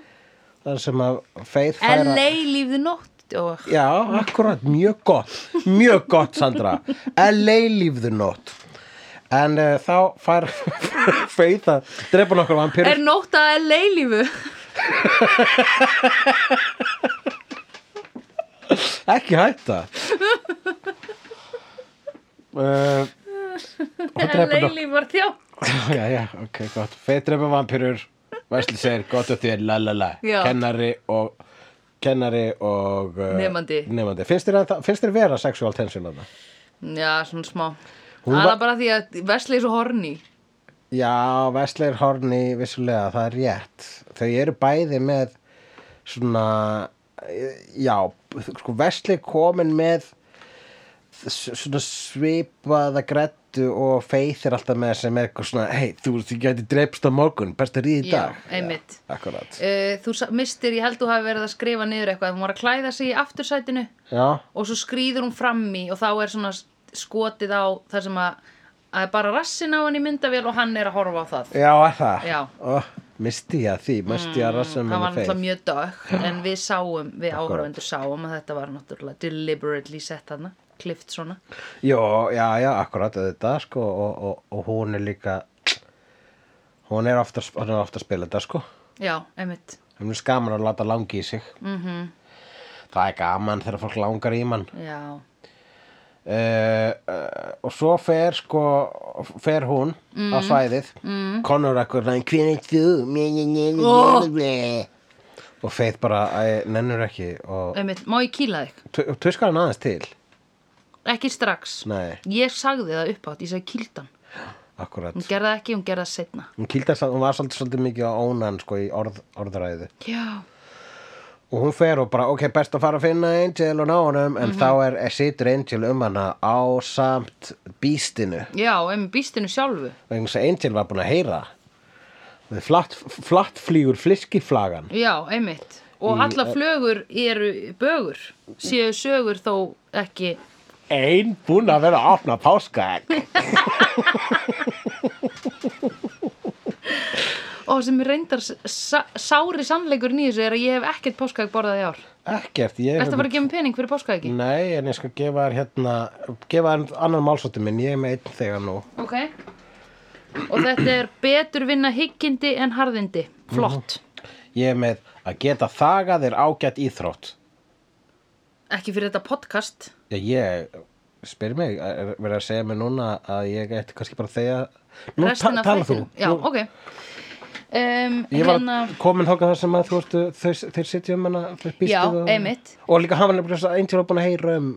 þar sem að feið færa LA lífðu nótt og Já, akkurat, mjög gott mjög gott, Sandra LA lífðu nótt en uh, þá fær feið að drepa nokkur vampíru er nótt að LA lífu ekki hætta uh, og drepa LA nokkur lífu var þjá Já, já, ok, gott. Feitrepa vampýrur, Vesli segir, gott að þér, la la la, Já. kennari og, kennari og... Uh, Nemandi. Nefandi. Finnst þér, að það- finnst þér vera sexual tension að það? já, svona smá Hún það var- er bara því að Vesli er svo horny Já, Vesli er horni vissulega, það er rétt. Þau eru bæði með svona, eh, já, sko, Vesli komin með s- svona svipaða grættu og feithir alltaf með sem er eitthvað svona, hei, þú, þú gæti dreipst á morgun, best að ríða í Já, e- dag. einmitt. Já, akkurat. uh, þú sa- mistir, ég held þú hafi verið að skrifa niður eitthvað hún var að klæða sig í aftursætinu Já, og svo skrýður hún fram í og þá er svona skotið á það sem að, að er bara rassin á henni í myndavél og hann er að horfa á það Já, er það? Já. Mm, Ó, misti ég að því, misti ég að rassa það með var náttúrulega feið. mjög dögt en við sáum, við áhörvendur sáum að þetta var náttúrulega deliberately sett þarna klift svona Jó, já, já, akkurat þetta, sko, og, og, og hún er líka, hún er ofta, hún er ofta að spila þetta, sko. já, einmitt, Mhm, Hún er skaman að láta langi í sig. Mm Það er gaman þegar fólk langar í mann. já, Uh, uh, og svo fer, sko, fer hún á svæðið. Mm. Conor ekkur, hann, hver er þú? Mjö, mjö, mjö, mjö, Ó. mjö. Og feið bara, æ, nennur ekki, og einmitt, má ég kýla þig tu- tuskar hann aðeins til. ekki strax, Nei, ég sagði það uppátt ég sagði kýldan, akkurat. hún gerði það ekki hún gerði það setna, hún kýlda samt, hún var svolítið, svolítið mikið á ónan sko í orð, orðræðu já, og hún fer og bara, ok, best að fara að finna Angel og ná honum, Mhm. en þá er, er situr Angel um hana á samt býstinu, já, einmitt býstinu sjálfu vegna þess að Angel var búin að heyra við flatt, flatt flýgur fliskiflagan Já, einmitt. Og alla e- flögur eru bögur, séu sögur þó ekki. ein búin að vera að opna páskaegg Og sem reyndar s- sa sári sannleikurinn í þessu er að ég hef ekkert páskaðeg borðað í ár. ekkert, ég Þetta var að gefa mér pening fyrir páskaðegi. nei, en ég skal gefa þér hérna gefa þér annan málsóttu minn, ég er með einn þegar nú Ok. Og þetta er betur vinna higgindi en harðindi. Mhm. Flott. ég er með að geta þagað er ágætt íþrótt Ekki fyrir þetta podcast. Já, ég spyr mig, er verið að segja mér núna að ég ætti kannski bara að þegja Nú ta Restin af tala þú þættinum. Já, Nú, ok. Um, Ég var hérna, komin þókað þar sem að þú veistu þeir, þeir sitja um hana býstu Já, og, einmitt. Og líka hann var nefnilega svo einn til að búin að heyra um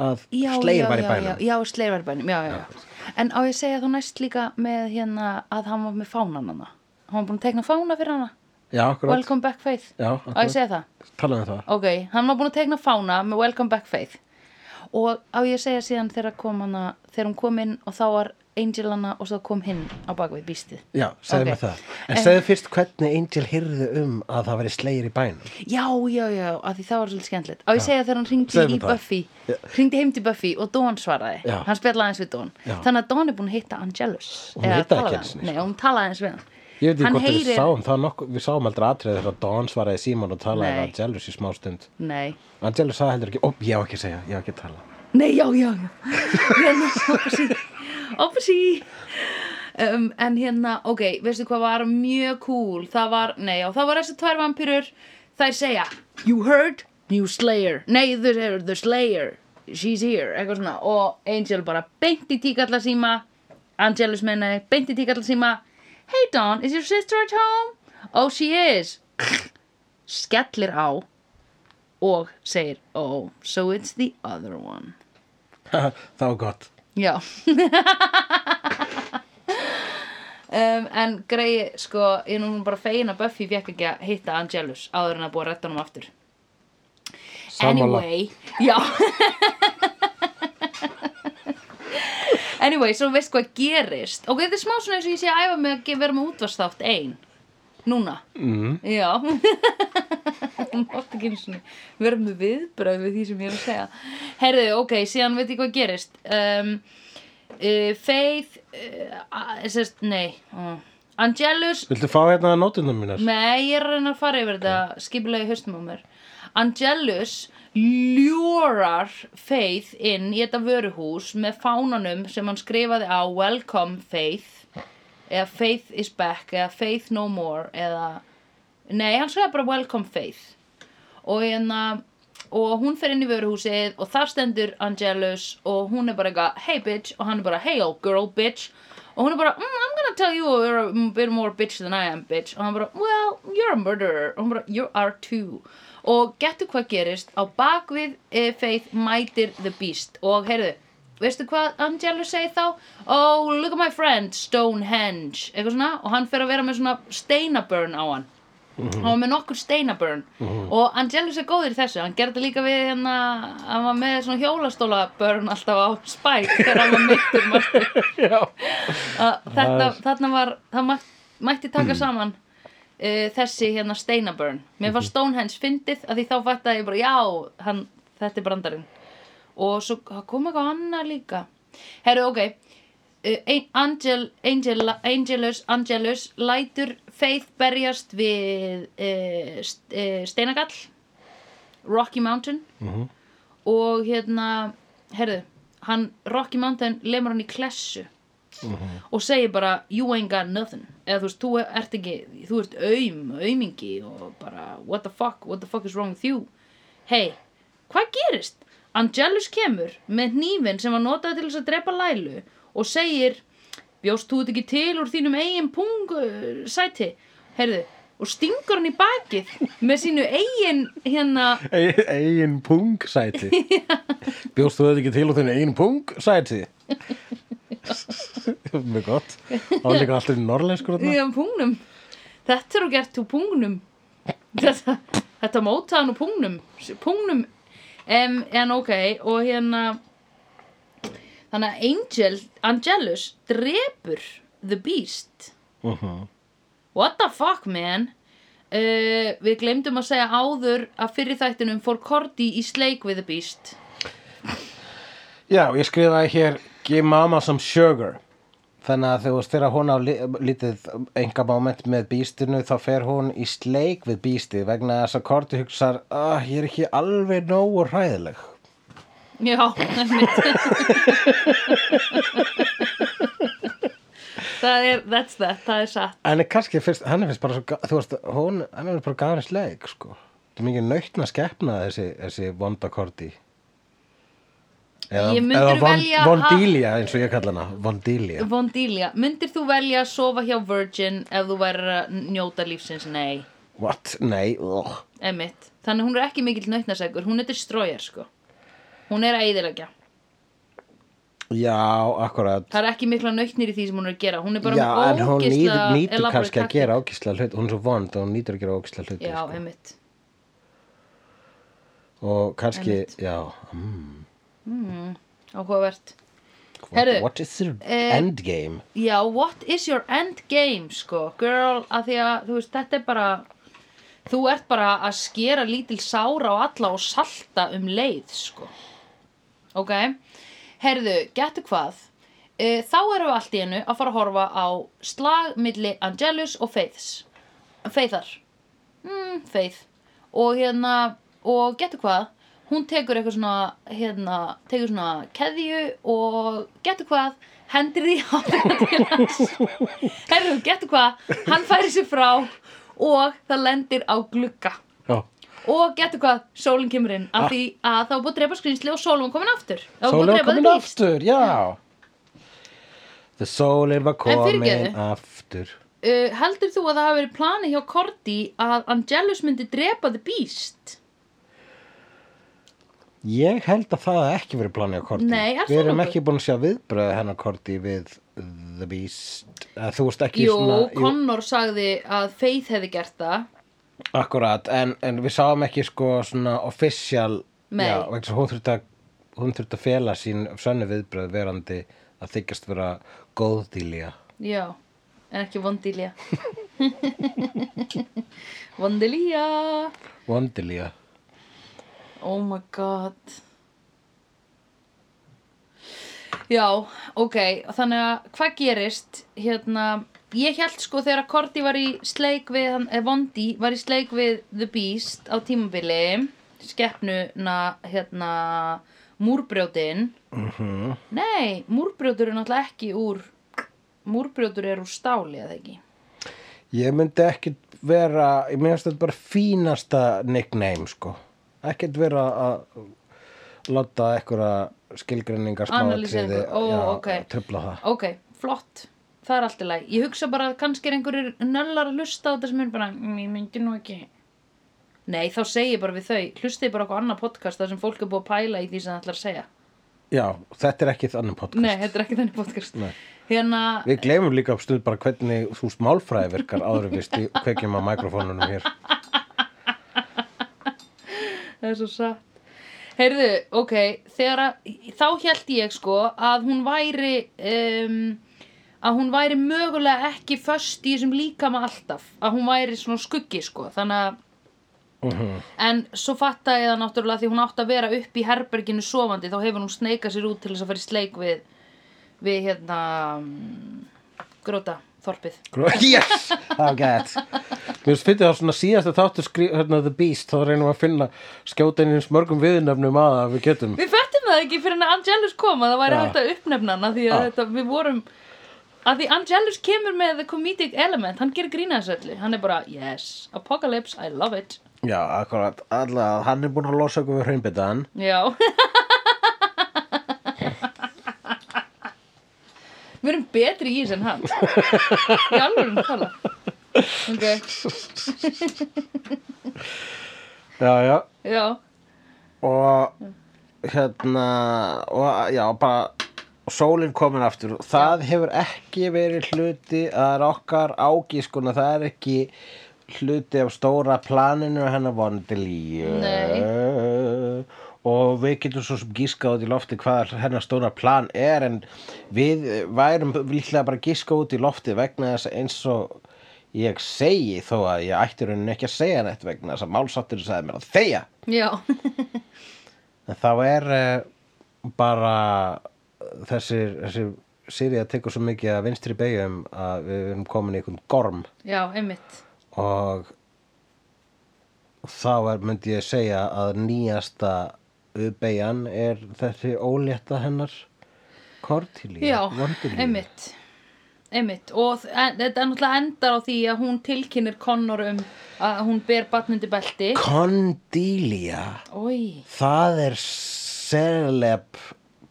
að já, sleir já, var í já, bænum Já, já, sleir var í bænum, já, já, já. En á ég að segja þú næst líka með hérna að hann var með fánan hana. Hann var búin að tekna fána fyrir hana. já, akkurat Welcome Back Faith Já, Á ég að segja það? Talaðu um það Ok, hann var búin að tegna fána með Welcome Back Faith og á ég að segja síðan þegar, kom hana, þegar hún kom inn og þá var Angel hana og svo kom hinn á bakvið býstið. Já, segðu Ok. mér það En segðu fyrst hvernig Angel hyrði um að það væri slegir í bænum Já, já, já, að því það var svolítið skemmtilegt. Á ég að segja þegar hann ringdi Segðu í mér það. Buffy, ringdi heim til Buffy og Dawn svaraði. Já. Hann spjallaði aðeins við Dawn. Já. Þannig að Dawn er búin að hitta Angelus. Hún Eða hittaði ekki talaði einu sinni, hann. Nei, hún talaði aðeins við hann. Ég veit ekki Hann hvort við heyrir- sáum það nokkuð Við sáum aldrei atrið þegar að Don svaraði Simon og talaði Nei. við Angelus í smástund Nei, Angelus sagði heldur ekki, ó, ég á ekki að segja, ég á ekki að tala Nei, já, já, já. Hérna, opsi, opsi. Um, en hérna, ok, veistu hvað var mjög cool? Það var, nei, já, það var þessi tvær vampýrur. Þær segja, you heard, new slayer. Nei, þau segir, the slayer, she's here, eitthvað svona. Og Angel bara beint í tíkalla síma, Angelus menna, beint í tíkalla síma. Hey Dawn, is your sister at home? Oh, she is. Skellir á og segir, oh, so it's the other one. Það var gott Já um, En greið sko Ég er nú bara fegin að Buffy fekk ekki að hitta Angelus áður en að búa að retta honum aftur Sammála. Anyway Já Anyway, svo veist hvað gerist Ok, þetta er smá svona eins og ég sé að æfa mig að ge- vera með útvarsþátt ein Núna mm. Já Mátt ekki einu svona vera með viðbröð við því sem ég er að segja Herðu, ok, síðan veit ég hvað gerist um, uh, Faith uh, a- sérst, Nei uh, Angelus Viltu fá hérna nótunum mínar? Nei, ég er að reyna að fara yfir þetta skipulega í haustum á mér Angelus ljórar Faith inn í þetta vöruhús með fánanum sem hann skrifaði á Welcome Faith eða Faith is back eða Faith no more eða Nei, hann skrifaði bara Welcome Faith og, hérna, og hún fer inn í vöruhúsið og þar stendur Angelus og hún er bara eitthvað hey bitch og hann er bara hey old girl bitch og hún er bara mm, I'm gonna tell you you're a bit more bitch than I am bitch og hann bara well you're a murderer og hún bara you are too og getur hvað gerist á bakvið eh, Faith mætir the beast og heyrðu Veistu hvað Angelus segir þá? Oh, look at my friend, Stonehenge Eitthvað svona, og hann fer að vera með svona steinaburn á hann hann var með nokkur steinaburn og Angelus er góður í þessu hann gerði líka við hérna hann var með svona hjólastólaburn alltaf á spæk þegar hann var mittur Já þetta, þarna var það mætt- mætti taka saman uh, þessi hérna steinaburn mér fannst Stonehenge fyndið að því þá fætti ég bara já, hann, þetta er brandarinn og svo það kom eitthvað annað líka herru, ok uh, Ein- Angel, Angel, Angelus Angelus lætur Faith berjast við uh, st uh, steinagall Rocky Mountain Mhm. og hérna herru, hann Rocky Mountain lemur hann í klessu og segir bara you ain't got nothing eða þú veist, þú ert ekki, þú ert aum aumingi og bara what the fuck, what the fuck is wrong with you hei, hvað gerist? Angelus kemur með hnífin sem var notað til þess að drepa Lælu og segir bjóst þú þetta ekki til úr þínum eigin pung uh, sæti, heyrðu og stingur hann í bakið með sínu eigin hérna E- Egin pungsæti Bjóstu þau ekki til og þenni egin pungsæti? Mjög gott Það var líka alltaf norrlenskur þarna Já, pungnum. Þetta er og gert úr pungnum. Þetta, þetta mótaðan úr pungnum. Pungnum. Um, en ok, og hérna... Þannig að Angel, Angelus drepur The Beast. uh -huh. What the fuck, man? Uh, við glemdum að segja áður að fyrir þættinum fór Korti í sleik við The Beast. Já, ég skrifaði hér Give mama some sugar Þannig að þú veist þegar hún á li- lítið enga moment með býstinu þá fer hún í sleik við býstið vegna þess að Korti hugsar ah, ég er ekki alveg nógu hræðileg Já, einmitt. það er, that's that, það er satt. En kannski fyrst, hann er fyrst bara svo, ga- þú veist, hún, hann er fyrst bara gafin sleik, sko. Það er mikið nautna skepna þessi, þessi vonda korti. Eða, Ég myndi eða velja að- Vondília, eins og ég kalla hana, Vondília. Vondília, myndir þú velja að sofa hjá Virgin ef þú værir að njóta lífsins? Nei, What? Nei, oh. emitt. Þannig hún er ekki mikill nautnasegur, hún er destroyer sko. Hún er að eðilegja. Já, akkurat það er ekki mikla nautnir í því sem hún er að gera hún er bara Já, en með hún nýð, ógisla nýtur kannski að gera sko. ógisla hlut Hún er svo vond og hún nýtur að gera ógisla hlut já, einmitt Og kannski, Einmitt. já mm, áhugavert what, Heyrðu, what is the eh, endgame? Já, what is your end game, sko, girl, að því að, þú veist, þetta er bara, þú ert bara að skera lítil sára á alla og salta um leið, sko. Ok, herðu, getur hvað, e, þá erum við allt í hennu að fara að horfa á slag milli Angelus og Faiths, Faithar, mm, Faith, og hérna, og getur hvað, hún tekur eitthvað svona, hérna, tekur svona keðju og getur hvað, hendir því á Herru, getur hvað, hann færi sér frá og það lendir á glugga. Já, Og getur hvað, sólinn kemur inn af því að þá er búið að drepa skrýnsli og sólinn var komin aftur. Það var búið að Ah. sólin var drepa þau komin víst. aftur, já The sólin var komin fyrirgefðu. aftur Uh, heldur þú að það hafi verið plani hjá Korti að Angelus myndi drepa The Beast? Ég held að það hafi ekki verið planið á Korti. Nei, er það Við erum nokkuð? ekki búin að sjá viðbröð hennar Korti við The Beast. Eða, Þú veist ekki Jú, svona... Connor sagði að Faith hefði gert það. Akkurat, en, en við sáum ekki sko svona official... Nei. Já, vegna þess að hún þurft að, hún þurft að fela sín sönnu viðbröð verandi að þykjast vera góðdýlja. Já, en ekki Vondilja. Vondilja. Vondilja. Oh my god Já, ok, þannig að hvað gerist hérna, ég held sko þegar að Korti var í sleik við hann, eh, Vondi var í sleik við The Beast á tímabili skeppnuna hérna múrbrjótin -hmm. Nei, múrbrjótur er náttúrulega ekki úr múrbrjótur er úr stáli eða ekki Ég myndi ekki vera, ég myndi þetta bara fínasta nickname sko. Ekkert vera að láta eitthvað skilgreiningar Analýsa smáatriði, einhver- ó, já, ókei. trufla það. Ok, flott. Það er allt í lagi. Ég hugsa bara að kannski er einhverjir nöllar að hlusta á þetta sem er bara, "Mm, ég myndi nú ekki. Nei, þá segi ég bara við þau, hlustið bara okkur annað podcast þar sem fólk er búið að pæla í því sem það ætlar að segja. Já, þetta er ekki þannig podcast. Nei, þetta er ekki þannig podcast. Nei. Hérna, Við gleymum líka upp stund bara hvernig þú smálfræði virkar áður en við stu, kveikjum á mikrofónunum hér. það er svo satt. Heyrðu, ok, þegar að, þá held ég sko að hún væri, um, að hún væri mögulega ekki föst í þessum líkama alltaf. Að hún væri svona skuggi sko, þannig að En svo fatta ég það náttúrulega því hún átti að vera upp í herberginu sofandi þá hefur hún sneikað sér út til þess að fara í sleik við, við hérna mm, gróta þorpið. Yes, það var gætt. Mér finnst fyndið á svona síðasta þáttu skrí, hérna, The Beast, þá reynum við að finna skjóta inn í eins mörgum viðnöfnum að að við getum. Við fættum það ekki fyrir en að Angelus kom að það væri Ja. hægt að uppnefna hann að því að Ja. þetta, við vorum að því Angelus kemur með the comedic element, hann gerir grína þessu öllu, hann er bara yes, apocalypse, I love it. Já, akkurat, allavega, hann er búin að losa okkur við hraunbyttan. Já Við erum betri í þess en hann Í alveg að tala Ok, Já, já, já og hérna, og já, bara sólinn komin aftur. Það hefur ekki verið hluti, það er okkar ágískuna, það er ekki hluti af stóra planinu hennar vondilíu. Nei. Og við getum svo sem gíska út í lofti hvað hennar stóra plan er en við værum líklega bara að gíska út í lofti vegna þess eins og ég segi þó að ég ætti í rauninni ekki að segja neitt vegna þess að málsáttur sagði mér að þegja. Já, En þá er uh, bara eh, þessir, þessir Sirja tekur svo mikið að vinstri beigjum að við erum komin í einhvern gorm já, einmitt og þá er, myndi ég segja að nýjasta beigjan er þessi ólétta hennar Kortilíu, Já, einmitt Einmitt, og þ- en, þetta náttúrulega endar á því að hún tilkynir Connor um að hún ber batnundi belti Kondílía, Ói, það er seleb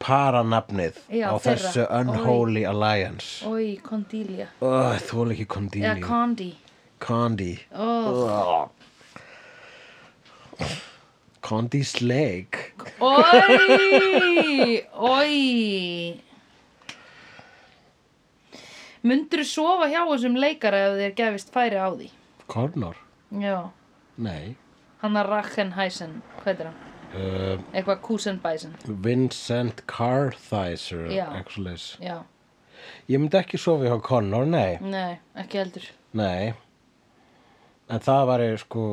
paranafnið Já, á þeirra. þessu Unholy Alliance. ói, Condilia Oh, þú er ekki Kondílíu. Eða Condi Condi Ó, Condi's Lake Ói, ói Mundur þú sofa hjá þessum leikara ef þér gefist færi á því? Connor? Já, Nei. hann að Rachenheisen, hvað er hann? Uh, Eitthvað Kusenbeisen, Vincent Carthizer, Já. eitthvað svoleiðis. já, Ég myndi ekki sofa hjá Connor, nei. nei, ekki heldur. Nei. En það var ég sko,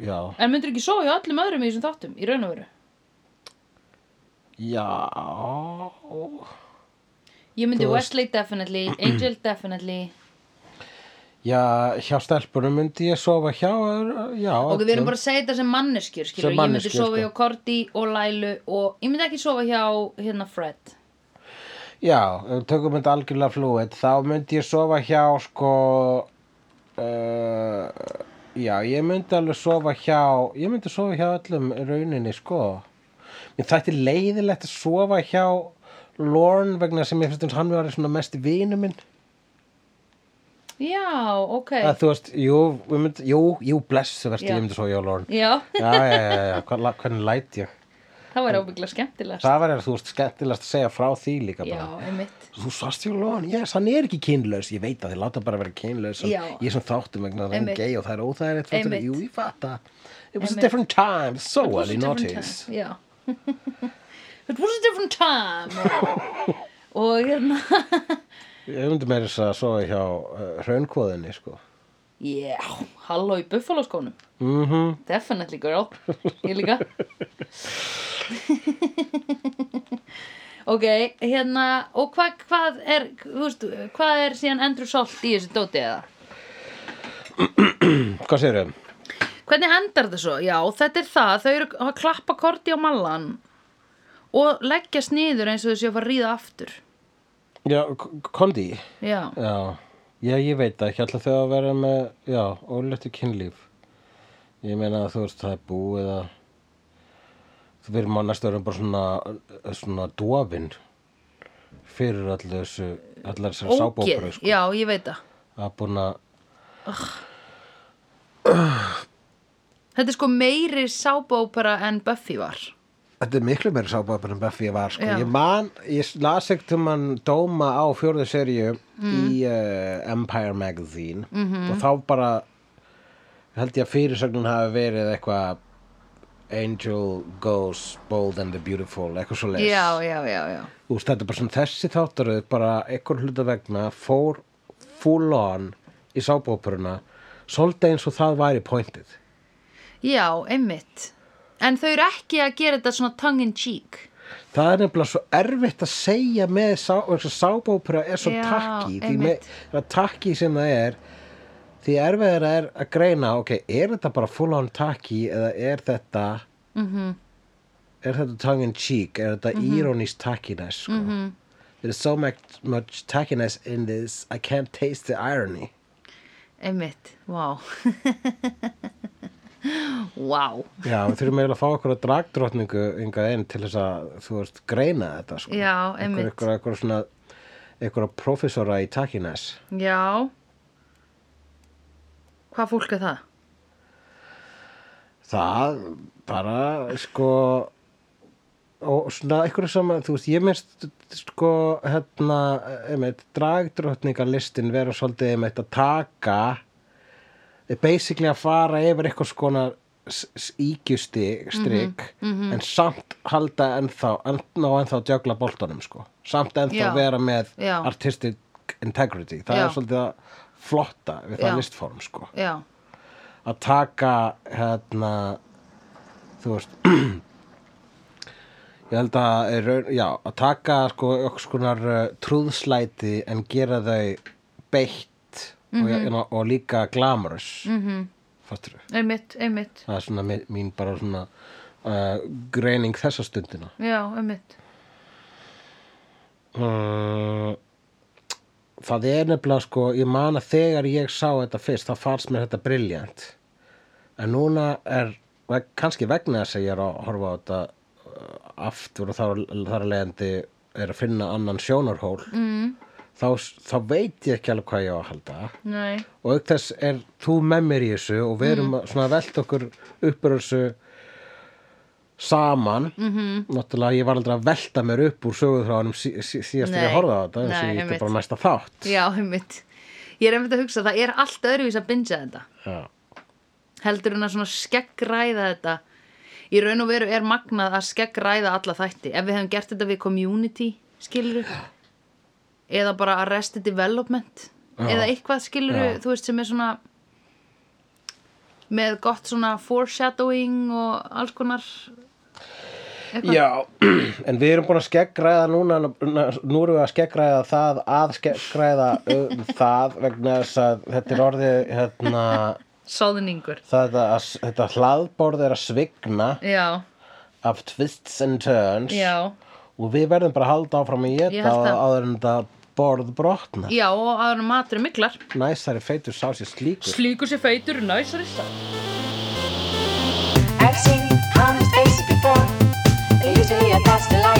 já. En myndur ekki sofa hjá öllum öðrum í þessum þáttum, í raun og veru? Já. Ég myndi Þú veist- Wesley definitely, Angel definitely. Já, hjá stelpunum myndi ég sofa hjá, já. Og við erum öllum. bara að segja þetta sem manneskjur, skilur. Sem Ég myndi manneskjur, sofa sko. hjá Korti og Lælu og ég myndi ekki sofa hjá hérna Fred. Já, ef við tökum þetta algjörlega flúið, þá myndi ég sofa hjá sko, uh, já, ég myndi alveg sofa hjá, ég myndi sofa hjá öllum í rauninni sko. Mér þætti leiðilegt að sofa hjá Lorne vegna sem ég finnst eins og hann var svona mest vinu minn. Já, ok. Að, þú veist, jú, ég myndi, jú, jú, blessu verðst, Já. ég myndi sofa hjá Lorne. Já, Já, já, já, já, hvernig, hvernig læt ég? það væri ábyggla skemmtilegast. Það var, þú veist, skemmtilegast að segja frá því líka Já, bara. einmitt. Þú svast hjá Lóan, yes, hann er ekki kynlaus, ég veit að þið láta bara vera kynlaus en Já. Ég er sem þáttum vegna að hann er Einmitt. gay og það er óþægilegt fattar Einmitt. þú? Jú, ég fatta It was Einmitt. a different time, so well you It was a different notice time, Já. It was a different time. og hérna, Ég myndi meira þess að sofa hjá uh, hraunkóðinni, sko já, halló í buffalo skónum. mm Definitely girl, ég líka Ok, hérna og hvað, hvað er þú veist, hvað er síðan Andrew Salt í þessu dóti eða? Hvað segirðu? Hvernig endar þetta svo? Já, þetta er það, þau eru að klappa korti á mallan og leggjast niður eins og þau séu að fara að ríða aftur Já, K- Kondi Já, Já, já, ég veit það, ekki alltaf þau að vera með, já, óléttu kynlíf Ég meina að þú veist, það er búið að Þú verður maður næstu verðum bara svona, svona dofin fyrir allu þessu, allar þessar ógeð, sábóparu, sko. já, ég veit það Það er búin að, Þetta er sko meiri sábópera en Buffy var þetta er miklu meira sábópar en Buffy var, sko. Já. Ég man, ég las ekkert um hann dóma á fjórðu seríu Mm. í uh, Empire Magazine Mhm. -hmm. og þá bara held ég að fyrirsögnin hafi verið eitthvað Angel goes bold and the beautiful, eitthvað svo les. Já, já, já, já Þú veist, þetta er bara svona þessi þáttaröð bara einhver hluta vegna fór full on í sábóperuna svolítið eins og það væri pointið. Já, einmitt. En þau eru ekki að gera þetta svona tongue in cheek. Það er nefnilega svo erfitt að segja með sá, sábópera er svo Já, takki því einmitt. með það takki sem það er því erfiðar er að greina ok, er þetta bara full on takki eða er þetta Mhm. er þetta tongue in cheek er þetta mm -hmm. ironist takkiness sko? mm Mhm. -hmm. there's so much, much takkiness in this I can't taste the irony Einmitt, vá. Vá, Já, við þurfum eiginlega að fá okkur að dragdrottningu ynga inn til þess að, þú veist, greina þetta, sko. Já, einmitt. Ykkur, ykkur svona, ykkur professora í takiness. já. Hvað fólk er það? Það bara, sko, og svona ykkur sem, að, þú veist, ég minnst, sko, hérna, einmitt, dragdrottningalistin vera svolítið, einmitt, að taka, er basically að fara yfir eitthvað skona ígjusti strik Mhm, en samt halda ennþá ennþá, ennþá djögla boltanum sko samt ennþá Já. vera með Já. artistic integrity, það Já. er svolítið að flotta við það Já. listform sko Já, að taka hérna þú veist ég held að er raun- já, að taka sko okkur skonar uh, trúðslæti en gera þau beitt og, og líka glamorous mm -hmm. fattur einmitt, einmitt. það er svona mi- mín bara svona uh, greining þessa stundina Já, einmitt. uh, það er nefnilega sko ég man að þegar ég sá þetta fyrst þá fannst mér þetta briljant en núna er veg- kannski vegna þess að ég er að horfa á þetta uh, aftur og þar, þar að leiðandi er að finna annan sjónarhól mm. þá, s- þá veit ég ekki alveg hvað ég á að halda Nei, og auk þess er Mm. þú með mér í þessu og við erum að- svona að velta okkur upp úr þessu saman Mhm. -hmm. náttúrulega ég var aldrei að velta mér upp úr söguðhráðanum sí, sí, síðast þegar ég Nei. horfði á þetta þess Nei, að ég einmitt. er bara næsta þátt Já, einmitt. Ég er einmitt að hugsa, það er allt öðruvís að bingja þetta. Já. Heldur hún að svona skeggræða þetta. Í raun og veru er magnað að skeggræða alla þætti. Ef við hefum gert þetta við community, skilur Eða bara arrested development. Já. Eða eitthvað, skilur Já. þú veist, sem er svona með gott svona foreshadowing og alls konar eitthvað. Já, en við erum búin að skeggræða núna, nú erum við að skeggræða það að skeggræða um það vegna þess að þetta er orðið, hérna, Sáðningur. það að, þetta hlaðborð er að svigna Já, af twists and turns já. og við verðum bara að halda áfram að Ég geta held það. áður en þetta borð brotna. Já, og aður matur er miklar. Næsari feitur sá sér slíkur. Slíkur sér feitur, næsari sá. I've seen honest faces before. They're usually a cost of life.